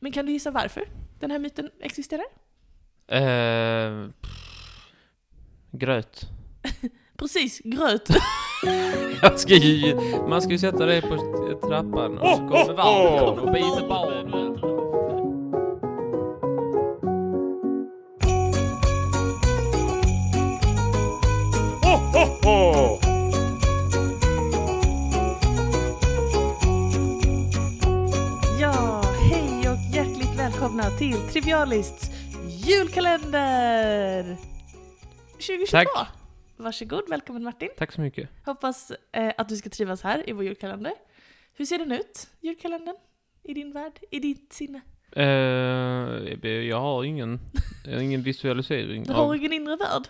Men kan du gissa varför den här myten existerar? Eh, pff, gröt. Precis, gröt. Jag ska ju, man ska ju sätta dig på trappan och så kommer vargen och biter barnen. Ja, hej och hjärtligt välkomna till Trivialists julkalender! 2022! Tack. Varsågod, välkommen Martin. Tack så mycket. Hoppas eh, att du ska trivas här i vår julkalender. Hur ser den ut, julkalendern? I din värld? I ditt sinne? Eh, jag har ingen, jag har ingen visualisering Du har av... ingen inre värld?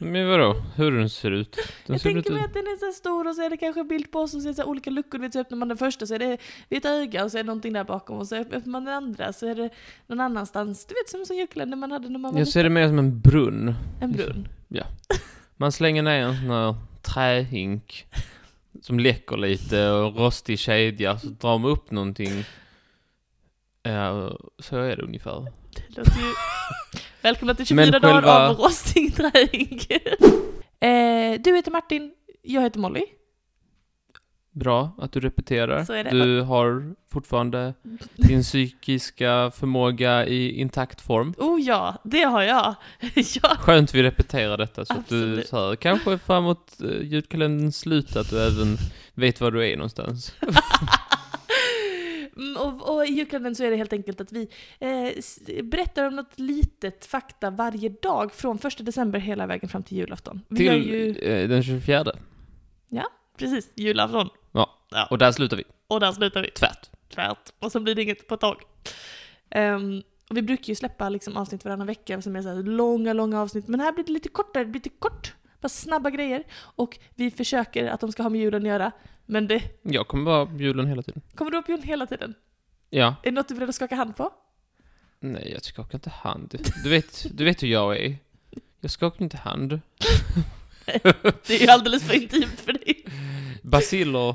Men vadå? Hur den ser ut? Den jag ser väl tänker mig ut... att den är så här stor och så är det kanske en bild på oss och så är det så här olika luckor. Du Vet, så öppnar man den första så är det vid ett öga och så är det någonting där bakom och så öppnar man den andra så är det någon annanstans. Du vet som en sån julkalender man hade när man var Jag ser det mer som en brunn. liten. en brunn. Man slänger ner en sån här trähink som läcker lite och rostig kedja, så drar man upp någonting. Ja, så är det ungefär. Det låter ju... Välkomna till 24 Men dagar själva- av rostig träink. eh, du heter Martin, jag heter Molly. Bra att du repeterar. Så är det. Mm. Du har fortfarande din psykiska förmåga i intakt form. Oh ja, det har jag. ja. Skönt vi repeterar detta så att du Absolut. så här, kanske framåt eh, ljudkalenderns slut att du även vet var du är någonstans. Mm, och, och i julkalendern så är det helt enkelt att vi eh, s- berättar om något litet fakta varje dag från första december hela vägen fram till julafton. Vi gör Till ju, eh, den 24. precis, julafton. Och där slutar vi. Och där slutar vi. Tvärt. Tvärt. Och så blir det inget på ett tag. Ehm, och vi brukar ju släppa liksom avsnitt varannan vecka som är så här långa, långa avsnitt. Men här blir det lite kortare, det blir lite kort. Bara snabba grejer. Och vi försöker att de ska ha med julen att göra. Men det Jag kommer vara bjuden hela tiden. kommer du upp julen hela tiden. Ja. Är det något du är beredd att skaka hand på? Nej, jag skakar inte hand. Du vet, du vet hur jag är. Jag skakar inte hand. Det är ju alldeles för intimt för dig. Basiller,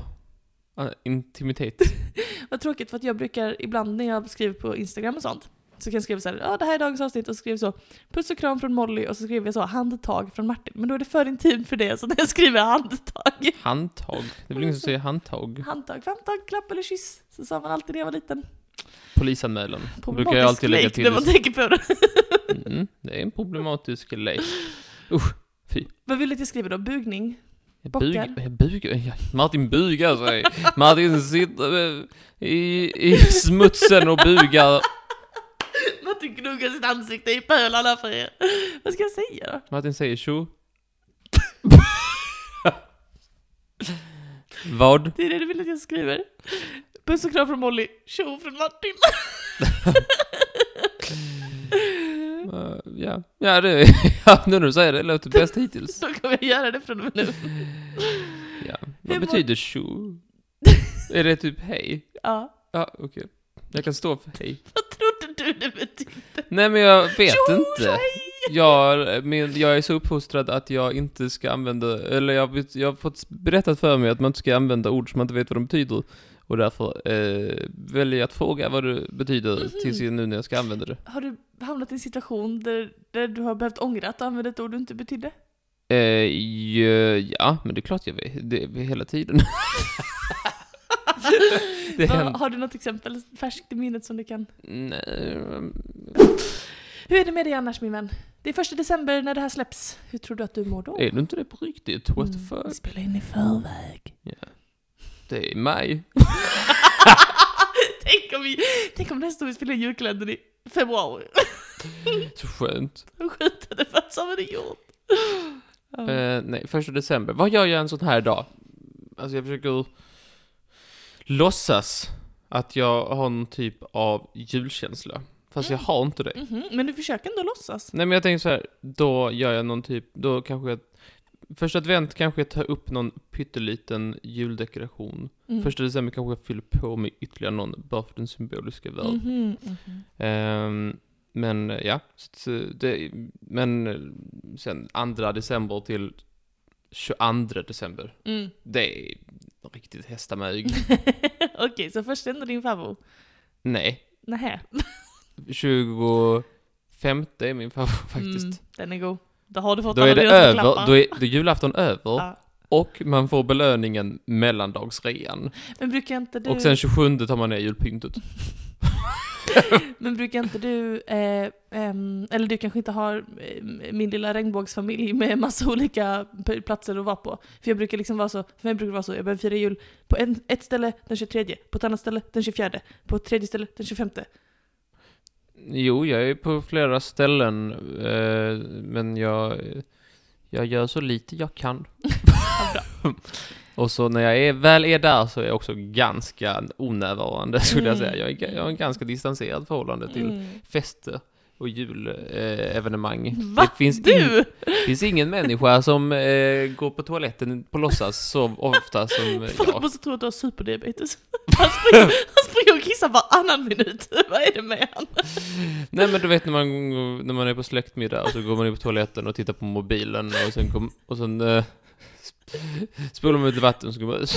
eh, intimitet. Vad tråkigt för att jag brukar ibland när jag skriver på Instagram och sånt så kan jag skriva så här, ja det här är dagens avsnitt och så skriver jag så puss och kram från Molly och så skriver jag så handtag från Martin. Men då är det för intimt för det så när jag skriver handtag, Handtag. Det är väl ingen som säger handtag. handtag, famntag, klapp eller kyss så sa man alltid när jag var liten. Polisanmälan. Brukar jag alltid lägga lek till. när man tänker på det. Mm, det är en problematisk lek. Vad vill du att jag skriver då? Bugning? Jag Bockar. Bug, jag bug, jag, Martin bugar sig. Martin sitter eh, i, i smutsen och bugar. Martin gnuggar sitt ansikte i pölen här för er. Vad ska jag säga då? Martin säger tjo. Vad? Det är det du vill att jag skriver. Puss och kram från Molly, tjo från Martin. Eh, ja, ja, det, ja, nu när du säger det, det låter bäst hittills. Så kommer jag göra det från och med nu. Ja. Hur Vad mår- betyder tjo? Är det typ hej? Ja. Ja, okej. Jag kan stå för hej. Vad trodde du det betydde? Nej men jag vet Tjo, inte. Jag, men jag är så uppfostrad att jag inte ska använda, eller jag, vet- jag har fått berättat för mig att man inte ska använda ord som man inte vet vad de betyder. Och därför eh, väljer jag att fråga vad det betyder tills nu när jag ska använda det. Har du hamnat i en situation där, där du har behövt ångra att du använde ett ord du inte betydde? Eh, ju- ja, men det är klart jag vet. Det är vi hela tiden. det Vad- händer. Har du något exempel färskt i minnet som du kan? Nej, Hur är det med dig annars min vän? Det är första december när det här släpps. Hur tror du att du mår då? är du inte det på riktigt? What the Mm, fuck? Spela in i förväg. Det är maj. tänk, om vi, tänk om nästa år vi spelar in julkalendern i februari. Så skönt. Då skjuter det fast som det gjort. Ja. Eh, nej, första december. Vad gör jag en sån här dag? Alltså jag försöker låtsas att jag har någon typ av julkänsla. Fast jag har inte det. Mhm, Men du försöker ändå låtsas. Nej men jag tänker så här, då gör jag någon typ, då kanske jag... Första advent kanske jag tar upp någon pytteliten juldekoration. Mm. Första december kanske jag fyller på med ytterligare någon, bara för den symboliska världen. Mhm, mhm. Ehm, men eh, ja, så att, eh, det, men eh, sen 2 december till 22 december. Mm. Det är riktigt hästamög. Okej, så först är ändå din favorit. Nej, Nähä. 25 är min favorit faktiskt. Mm, den är god. Då har du fått Då alla är det dina över, klappar. då är, då är julafton över Ja. och man får belöningen mellandagsrean. Men brukar inte du... Och sen 27 tar man ner julpyntet. Men brukar inte du, eh, ehm, eller du kanske inte har eh, min lilla regnbågsfamilj med massa olika p- platser att vara på. För jag brukar liksom vara så, för mig brukar det vara så, jag behöver fira jul på en, ett ställe den 23, på ett annat ställe den 24, på ett tredje ställe den 25. Jo, jag är på flera ställen, eh, men jag, jag gör så lite jag kan. och så när jag är, väl är där så är jag också ganska onärvarande, skulle jag Mm. säga. Jag, är, ga- jag har en ganska distanserad förhållande till Mm. fester och julevenemang. Va? Det finns, in, du! finns ingen människa som eh, går på toaletten på låtsas så ofta som Folk jag. måste tro att du har superdiabetes. Han springer, han springer och kissar varannan minut. Vad är det med han? Nej men du vet när man, när man är på släktmiddag och så går man in på toaletten och tittar på mobilen och sen, kom, och sen eh, sp- spolar man ut vatten och så går man ut.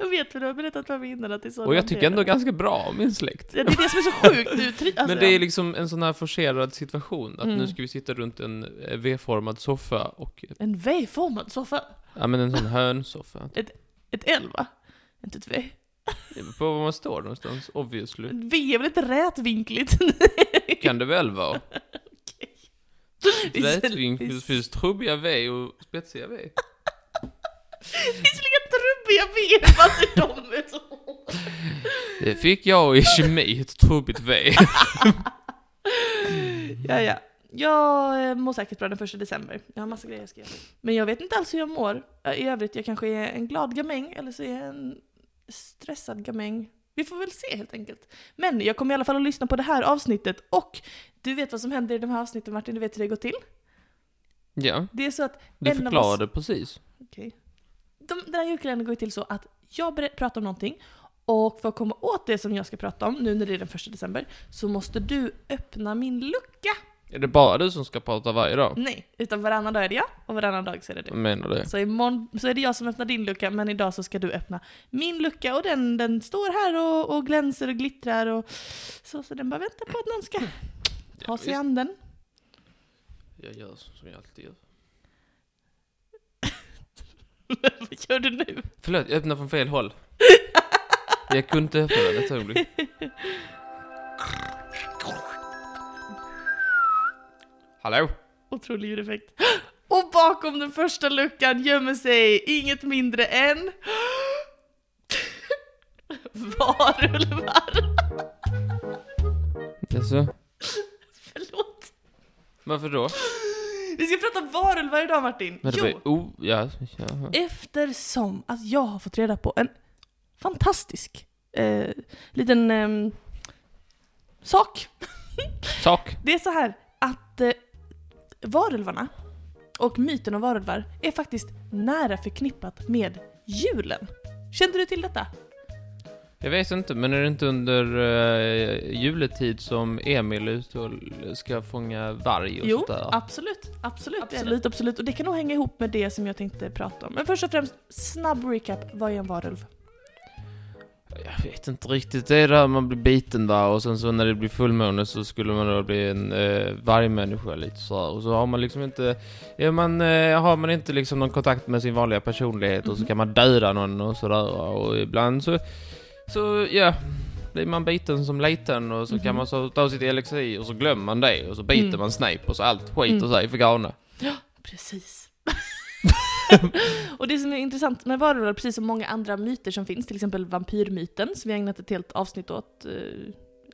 Jag vet för du har berättat för mig innan att det är så Och jag han tycker gör. ändå ganska bra om min släkt. Det är det som är så sjukt. Du, tri- alltså, Men det är liksom en sån här forcerad situation, att nu Mm. ska vi sitta runt en eh, V-formad soffa och, En V-formad soffa. ja men en sån hönsoffa. Ett L va? Inte ett V. På var man står någonstans, obviously. Ett V är väl inte rätvinkligt? Kan det väl vara? Vi ser- Rätvinkligt, vi- det finns trubbiga V och spetsiga V. Visserligen trubbiga V, fast är de är så... Det fick jag i kemi, ett trubbigt V. Ja, ja. Jag eh, mår säkert bra den första december. Jag har massa grejer jag ska göra. Men jag vet inte alls hur jag mår. Eh, I övrigt, jag kanske är en glad gamäng, eller så är jag en stressad gamäng. Vi får väl se helt enkelt. Men jag kommer i alla fall att lyssna på det här avsnittet och du vet vad som händer i de här avsnitten Martin, du vet hur det går till. Ja, Det är så att du En av oss- förklarade precis. de, den här julkalendern går ju till så att jag ber- pratar om någonting och för att komma åt det som jag ska prata om nu när det är den första december så måste du öppna min lucka. Är det bara du som ska prata varje dag? Nej, utan varannan dag är det jag och varannan dag så är det du. Jag menar det. Så imorgon så är det jag som öppnar din lucka men idag så ska du öppna min lucka och den, den står här och, och glänser och glittrar och så, så den bara väntar på att någon ska ta sig an den. Jag gör som jag alltid gör. Vad gör du nu? Förlåt, jag öppnade från fel håll. Jag kunde inte öppna den ett ögonblick. Hallå? Otrolig ljudeffekt. Och bakom den första luckan gömmer sig inget mindre än... Varulvar! Jaså? Förlåt. Varför då? Vi ska prata varulvar idag Martin. Men det Jo, var oh, ja, jaha. eftersom att jag har fått reda på en fantastisk eh, liten ehm, sak. Sak. Det är så här att eh, varulvarna och myten om varulvar är faktiskt nära förknippat med julen. Kände du till detta? Jag vet inte, men är det inte under eh, juletid som Emil är ute och ska fånga varg och Jo, sånt där? absolut. Absolut, det är absolut, absolut. Och det kan nog hänga ihop med det som jag tänkte prata om. Men först och främst, snabb recap. Vad är en varulv? Jag vet inte riktigt, det är där man blir biten va och sen så när det blir fullmåne så skulle man då bli en eh, vargmänniska lite så här. och så har man liksom inte, är man, eh, har man inte liksom någon kontakt med sin vanliga personlighet och så Mhm. kan man döda någon och sådär va? och ibland så, så ja, blir man biten som liten och så kan Mhm. man så ta sitt elixir och så glömmer man det och så biter Mm. man snipe och så allt skiter Mm. sig för galna. Precis. och det som är intressant med varulvar, precis som många andra myter som finns, till exempel vampyrmyten, som vi har ägnat ett helt avsnitt åt, eh,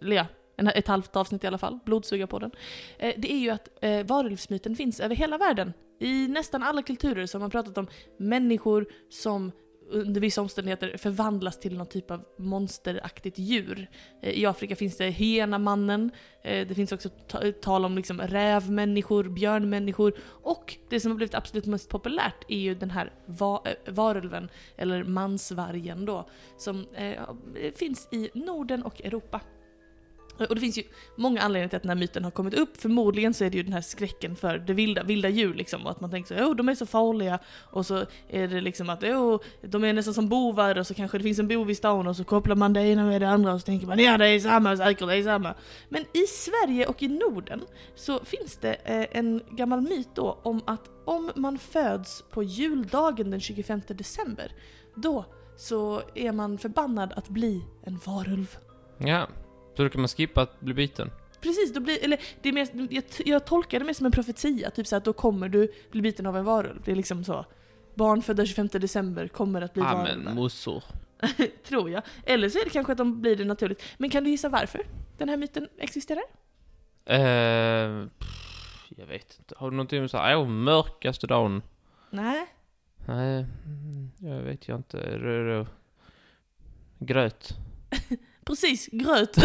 eller ja, en- ett halvt avsnitt i alla fall, blodsuga på den. Eh, det är ju att eh, varulvsmyten finns över hela världen. I nästan alla kulturer så har man pratat om människor som under vissa omständigheter förvandlas till någon typ av monsteraktigt djur. Eh, I Afrika finns det hyena-mannen, eh, det finns också ta- tal om liksom rävmänniskor, björnmänniskor, och det som har blivit absolut mest populärt är ju den här va- eh, varulven, eller eh, mansvargen då, som eh, finns i Norden och Europa. Och det finns ju många anledningar till att den här myten har kommit upp. Förmodligen så är det ju den här skräcken för det vilda, vilda djur liksom. Och att man tänker så, oh, de är så farliga. Och så är det liksom att, oh, de är nästan som bovar och så kanske det finns en bov i stan och så kopplar man det ena med det andra och så tänker man, ja det är samma säkert, det är samma. Men i Sverige och i Norden så finns det eh, en gammal myt då om att om man föds på juldagen den 25 december, då så är man förbannad att bli en varulv. Ja. Så då kan man skippa att bli biten. Precis, då blir, eller det är mer, jag, jag tolkar det mer som en profetia, typ så att då kommer du bli biten av en varulv. Det är liksom så. Barn födda 25 december kommer att bli Ja men varulvar. mossor. Tror jag. Eller så är det kanske att de blir det naturligt. Men kan du gissa varför den här myten existerar? Eh, pff, jag vet inte. Har du någonting med såhär, åh mörkaste dagen? Nej. Nej, mm, jag vet jag inte. Är det då? Gröt. Precis, gröt.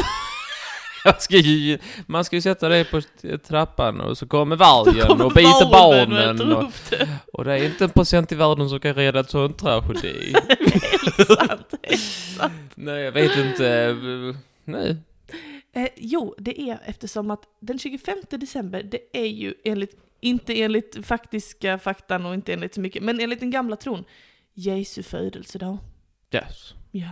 Jag ska ju, man ska ju sätta det på t- trappan och så kommer vargen Kommer och biter varulven och barnen. äter Och, upp det. och det är inte en procent i världen som kan reda ett sånt tragedi. Helt sant. helt sant. Nej, jag vet inte. Nej. Eh, jo, det är eftersom att den 25 december, det är ju enligt, inte enligt faktiska faktan och inte enligt så mycket, men enligt den gamla tron, Jesu födelsedag. Yes. Ja.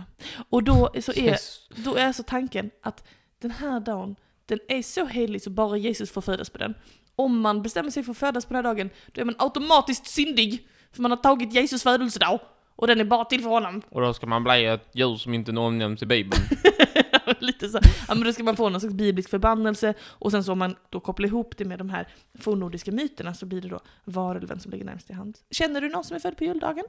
Och då så är, Yes. då är alltså tanken att den här dagen, den är så helig så bara Jesus får födas på den. Om man bestämmer sig för att födas på den här dagen, då är man automatiskt syndig, för man har tagit Jesus födelsedag. Och den är bara till för honom. Och då ska man bli ett djur som inte omnämns i Bibeln. Lite så. här, Ja, men då ska man få någon slags biblisk förbannelse och sen så om man då kopplar ihop det med de här fornnordiska myterna så blir det då varulven som ligger närmst i hand. Känner du någon som är född på juldagen?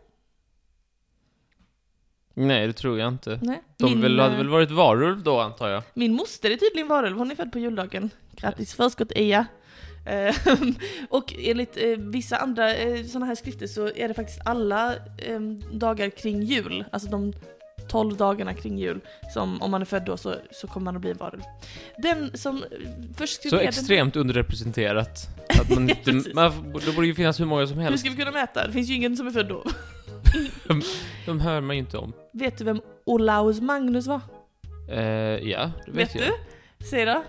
Nej, det tror jag inte. Nej. De min, väl, hade eh, väl varit varulv då, antar jag. min moster är tydligen varulv, hon är född på juldagen. Grattis förskott Ia! Eh, och enligt eh, vissa andra eh, sådana här skrifter så är det faktiskt alla eh, dagar kring jul, alltså de 12 dagarna kring jul, som om man är född då så, så kommer man att bli en varulv. Den som eh, först skrev Så ner den- extremt underrepresenterat. Att man inte, precis. man, det borde ju finnas hur många som Hur helst. ska vi kunna mäta? Det finns ju ingen som är född då. De hör man ju inte om. Vet du vem Olaus Magnus var? Eh, ja, det vet, jag. du? Säg då.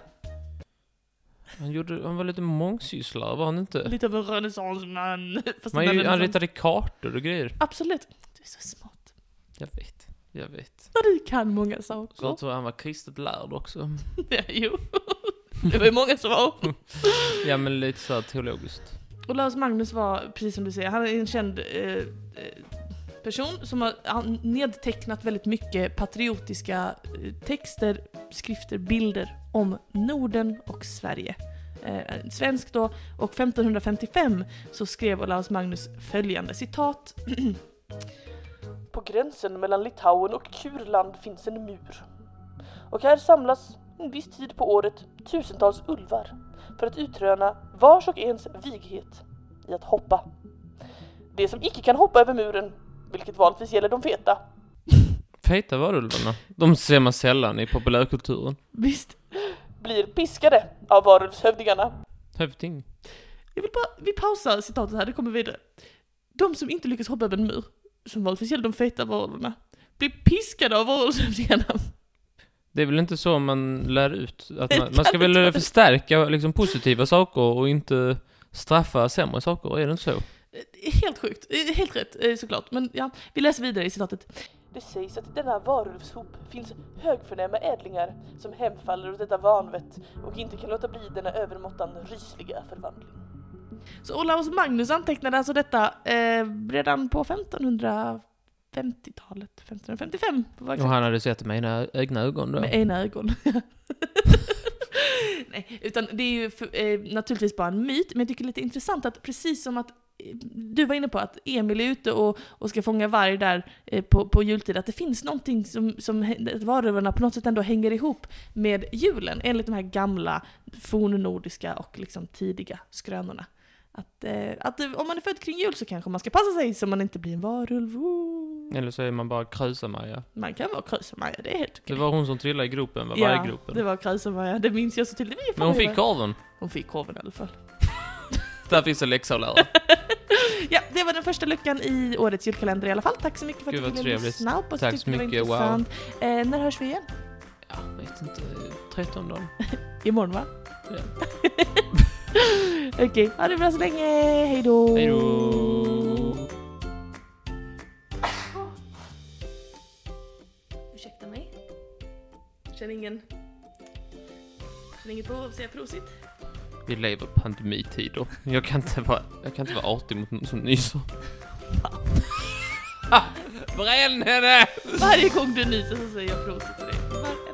Han, gjorde, han var lite mångsysslare, var han inte? Lite av en renässansman. Fast Man inte ju, han renässans. ritade kartor och grejer. Absolut. Du är så smart. Jag vet, jag vet. Vad Du kan många saker. Så jag tror han var kristet lärd också. Ja, jo. Det var ju många som var. Ja, men lite såhär teologiskt. Olaus Magnus var, precis som du säger, han är en känd eh, eh, person som har han nedtecknat väldigt mycket patriotiska eh, texter, skrifter, bilder om Norden och Sverige. Eh, svensk då, och 1555 så skrev Olaus Magnus följande citat. På gränsen mellan Litauen och Kurland finns en mur. Och här samlas en viss tid på året tusentals ulvar för att utröna vars och ens vighet i att hoppa. Det som icke kan hoppa över muren, vilket vanligtvis gäller de feta. Feta varulvarna. De ser man sällan i populärkulturen. Visst. Blir piskade av varulvshövdingarna. Häfting. Jag vill bara, vi pausar citatet här, det kommer vidare. De som inte lyckas hoppa över en mur, som vanligtvis gäller de feta varulvarna, blir piskade av varulvshövdingarna. Det är väl inte så man lär ut? Att man, Det man ska kan inte väl vara- förstärka liksom, positiva saker och inte straffa sämre saker, är det inte så? Eh, Helt sjukt, Eh, helt rätt eh, såklart. Men ja, vi läser vidare i citatet. Det sägs att i denna varulvshop finns högförnäma ädlingar som hemfaller åt detta vanvett och inte kan låta bli denna övermåttan rysliga förvandling. Så Olaus Magnus antecknade alltså detta eh, redan på 1550-talet, 1555 på Och han hade sett med mina egna ögon då. med ena ögon. Nej, utan det är ju för, eh, naturligtvis bara en myt, men jag tycker det är lite intressant att precis som att eh, du var inne på att Emil är ute och, och ska fånga varg där eh, på, på jultid, att det finns någonting som, som hä- att varulvarna på något sätt ändå hänger ihop med julen, enligt de här gamla fornnordiska och liksom tidiga skrönorna. Att, eh, att eh, om man är född kring jul så kanske man ska passa sig så man inte blir en varulv. Ooh. Eller så är man bara krösa-Maja. Man kan vara krösemaja, det är helt okej. Det var hon som trillade i gropen, var Ja, varggruppen. det var Kajsa-Maja. Det minns jag så till. Det var ju fan Men hon vad jag fick var- korven. hon fick korven i alla fall. Där finns en läxa att lära. Ja, det var den första luckan i årets julkalender i alla fall. Tack så mycket för att Gud, du vad ville trevligt. lyssna. Hoppas du Tack tyckte så det var mycket, wow. intressant. Eh, när hörs vi igen? Ja, vet inte. 13 dagen. Imorgon va? Ja. Okej, ha det bra så länge. Hej då. Hej då! Ursäkta mig. Känner ingen... Känner inget behov av att säga prosit. Vi lever i pandemitider. Jag kan inte vara, jag kan inte vara artig mot någon som nyser. Bränn henne! Varje gång du nyser så säger jag prosit till dig. Varje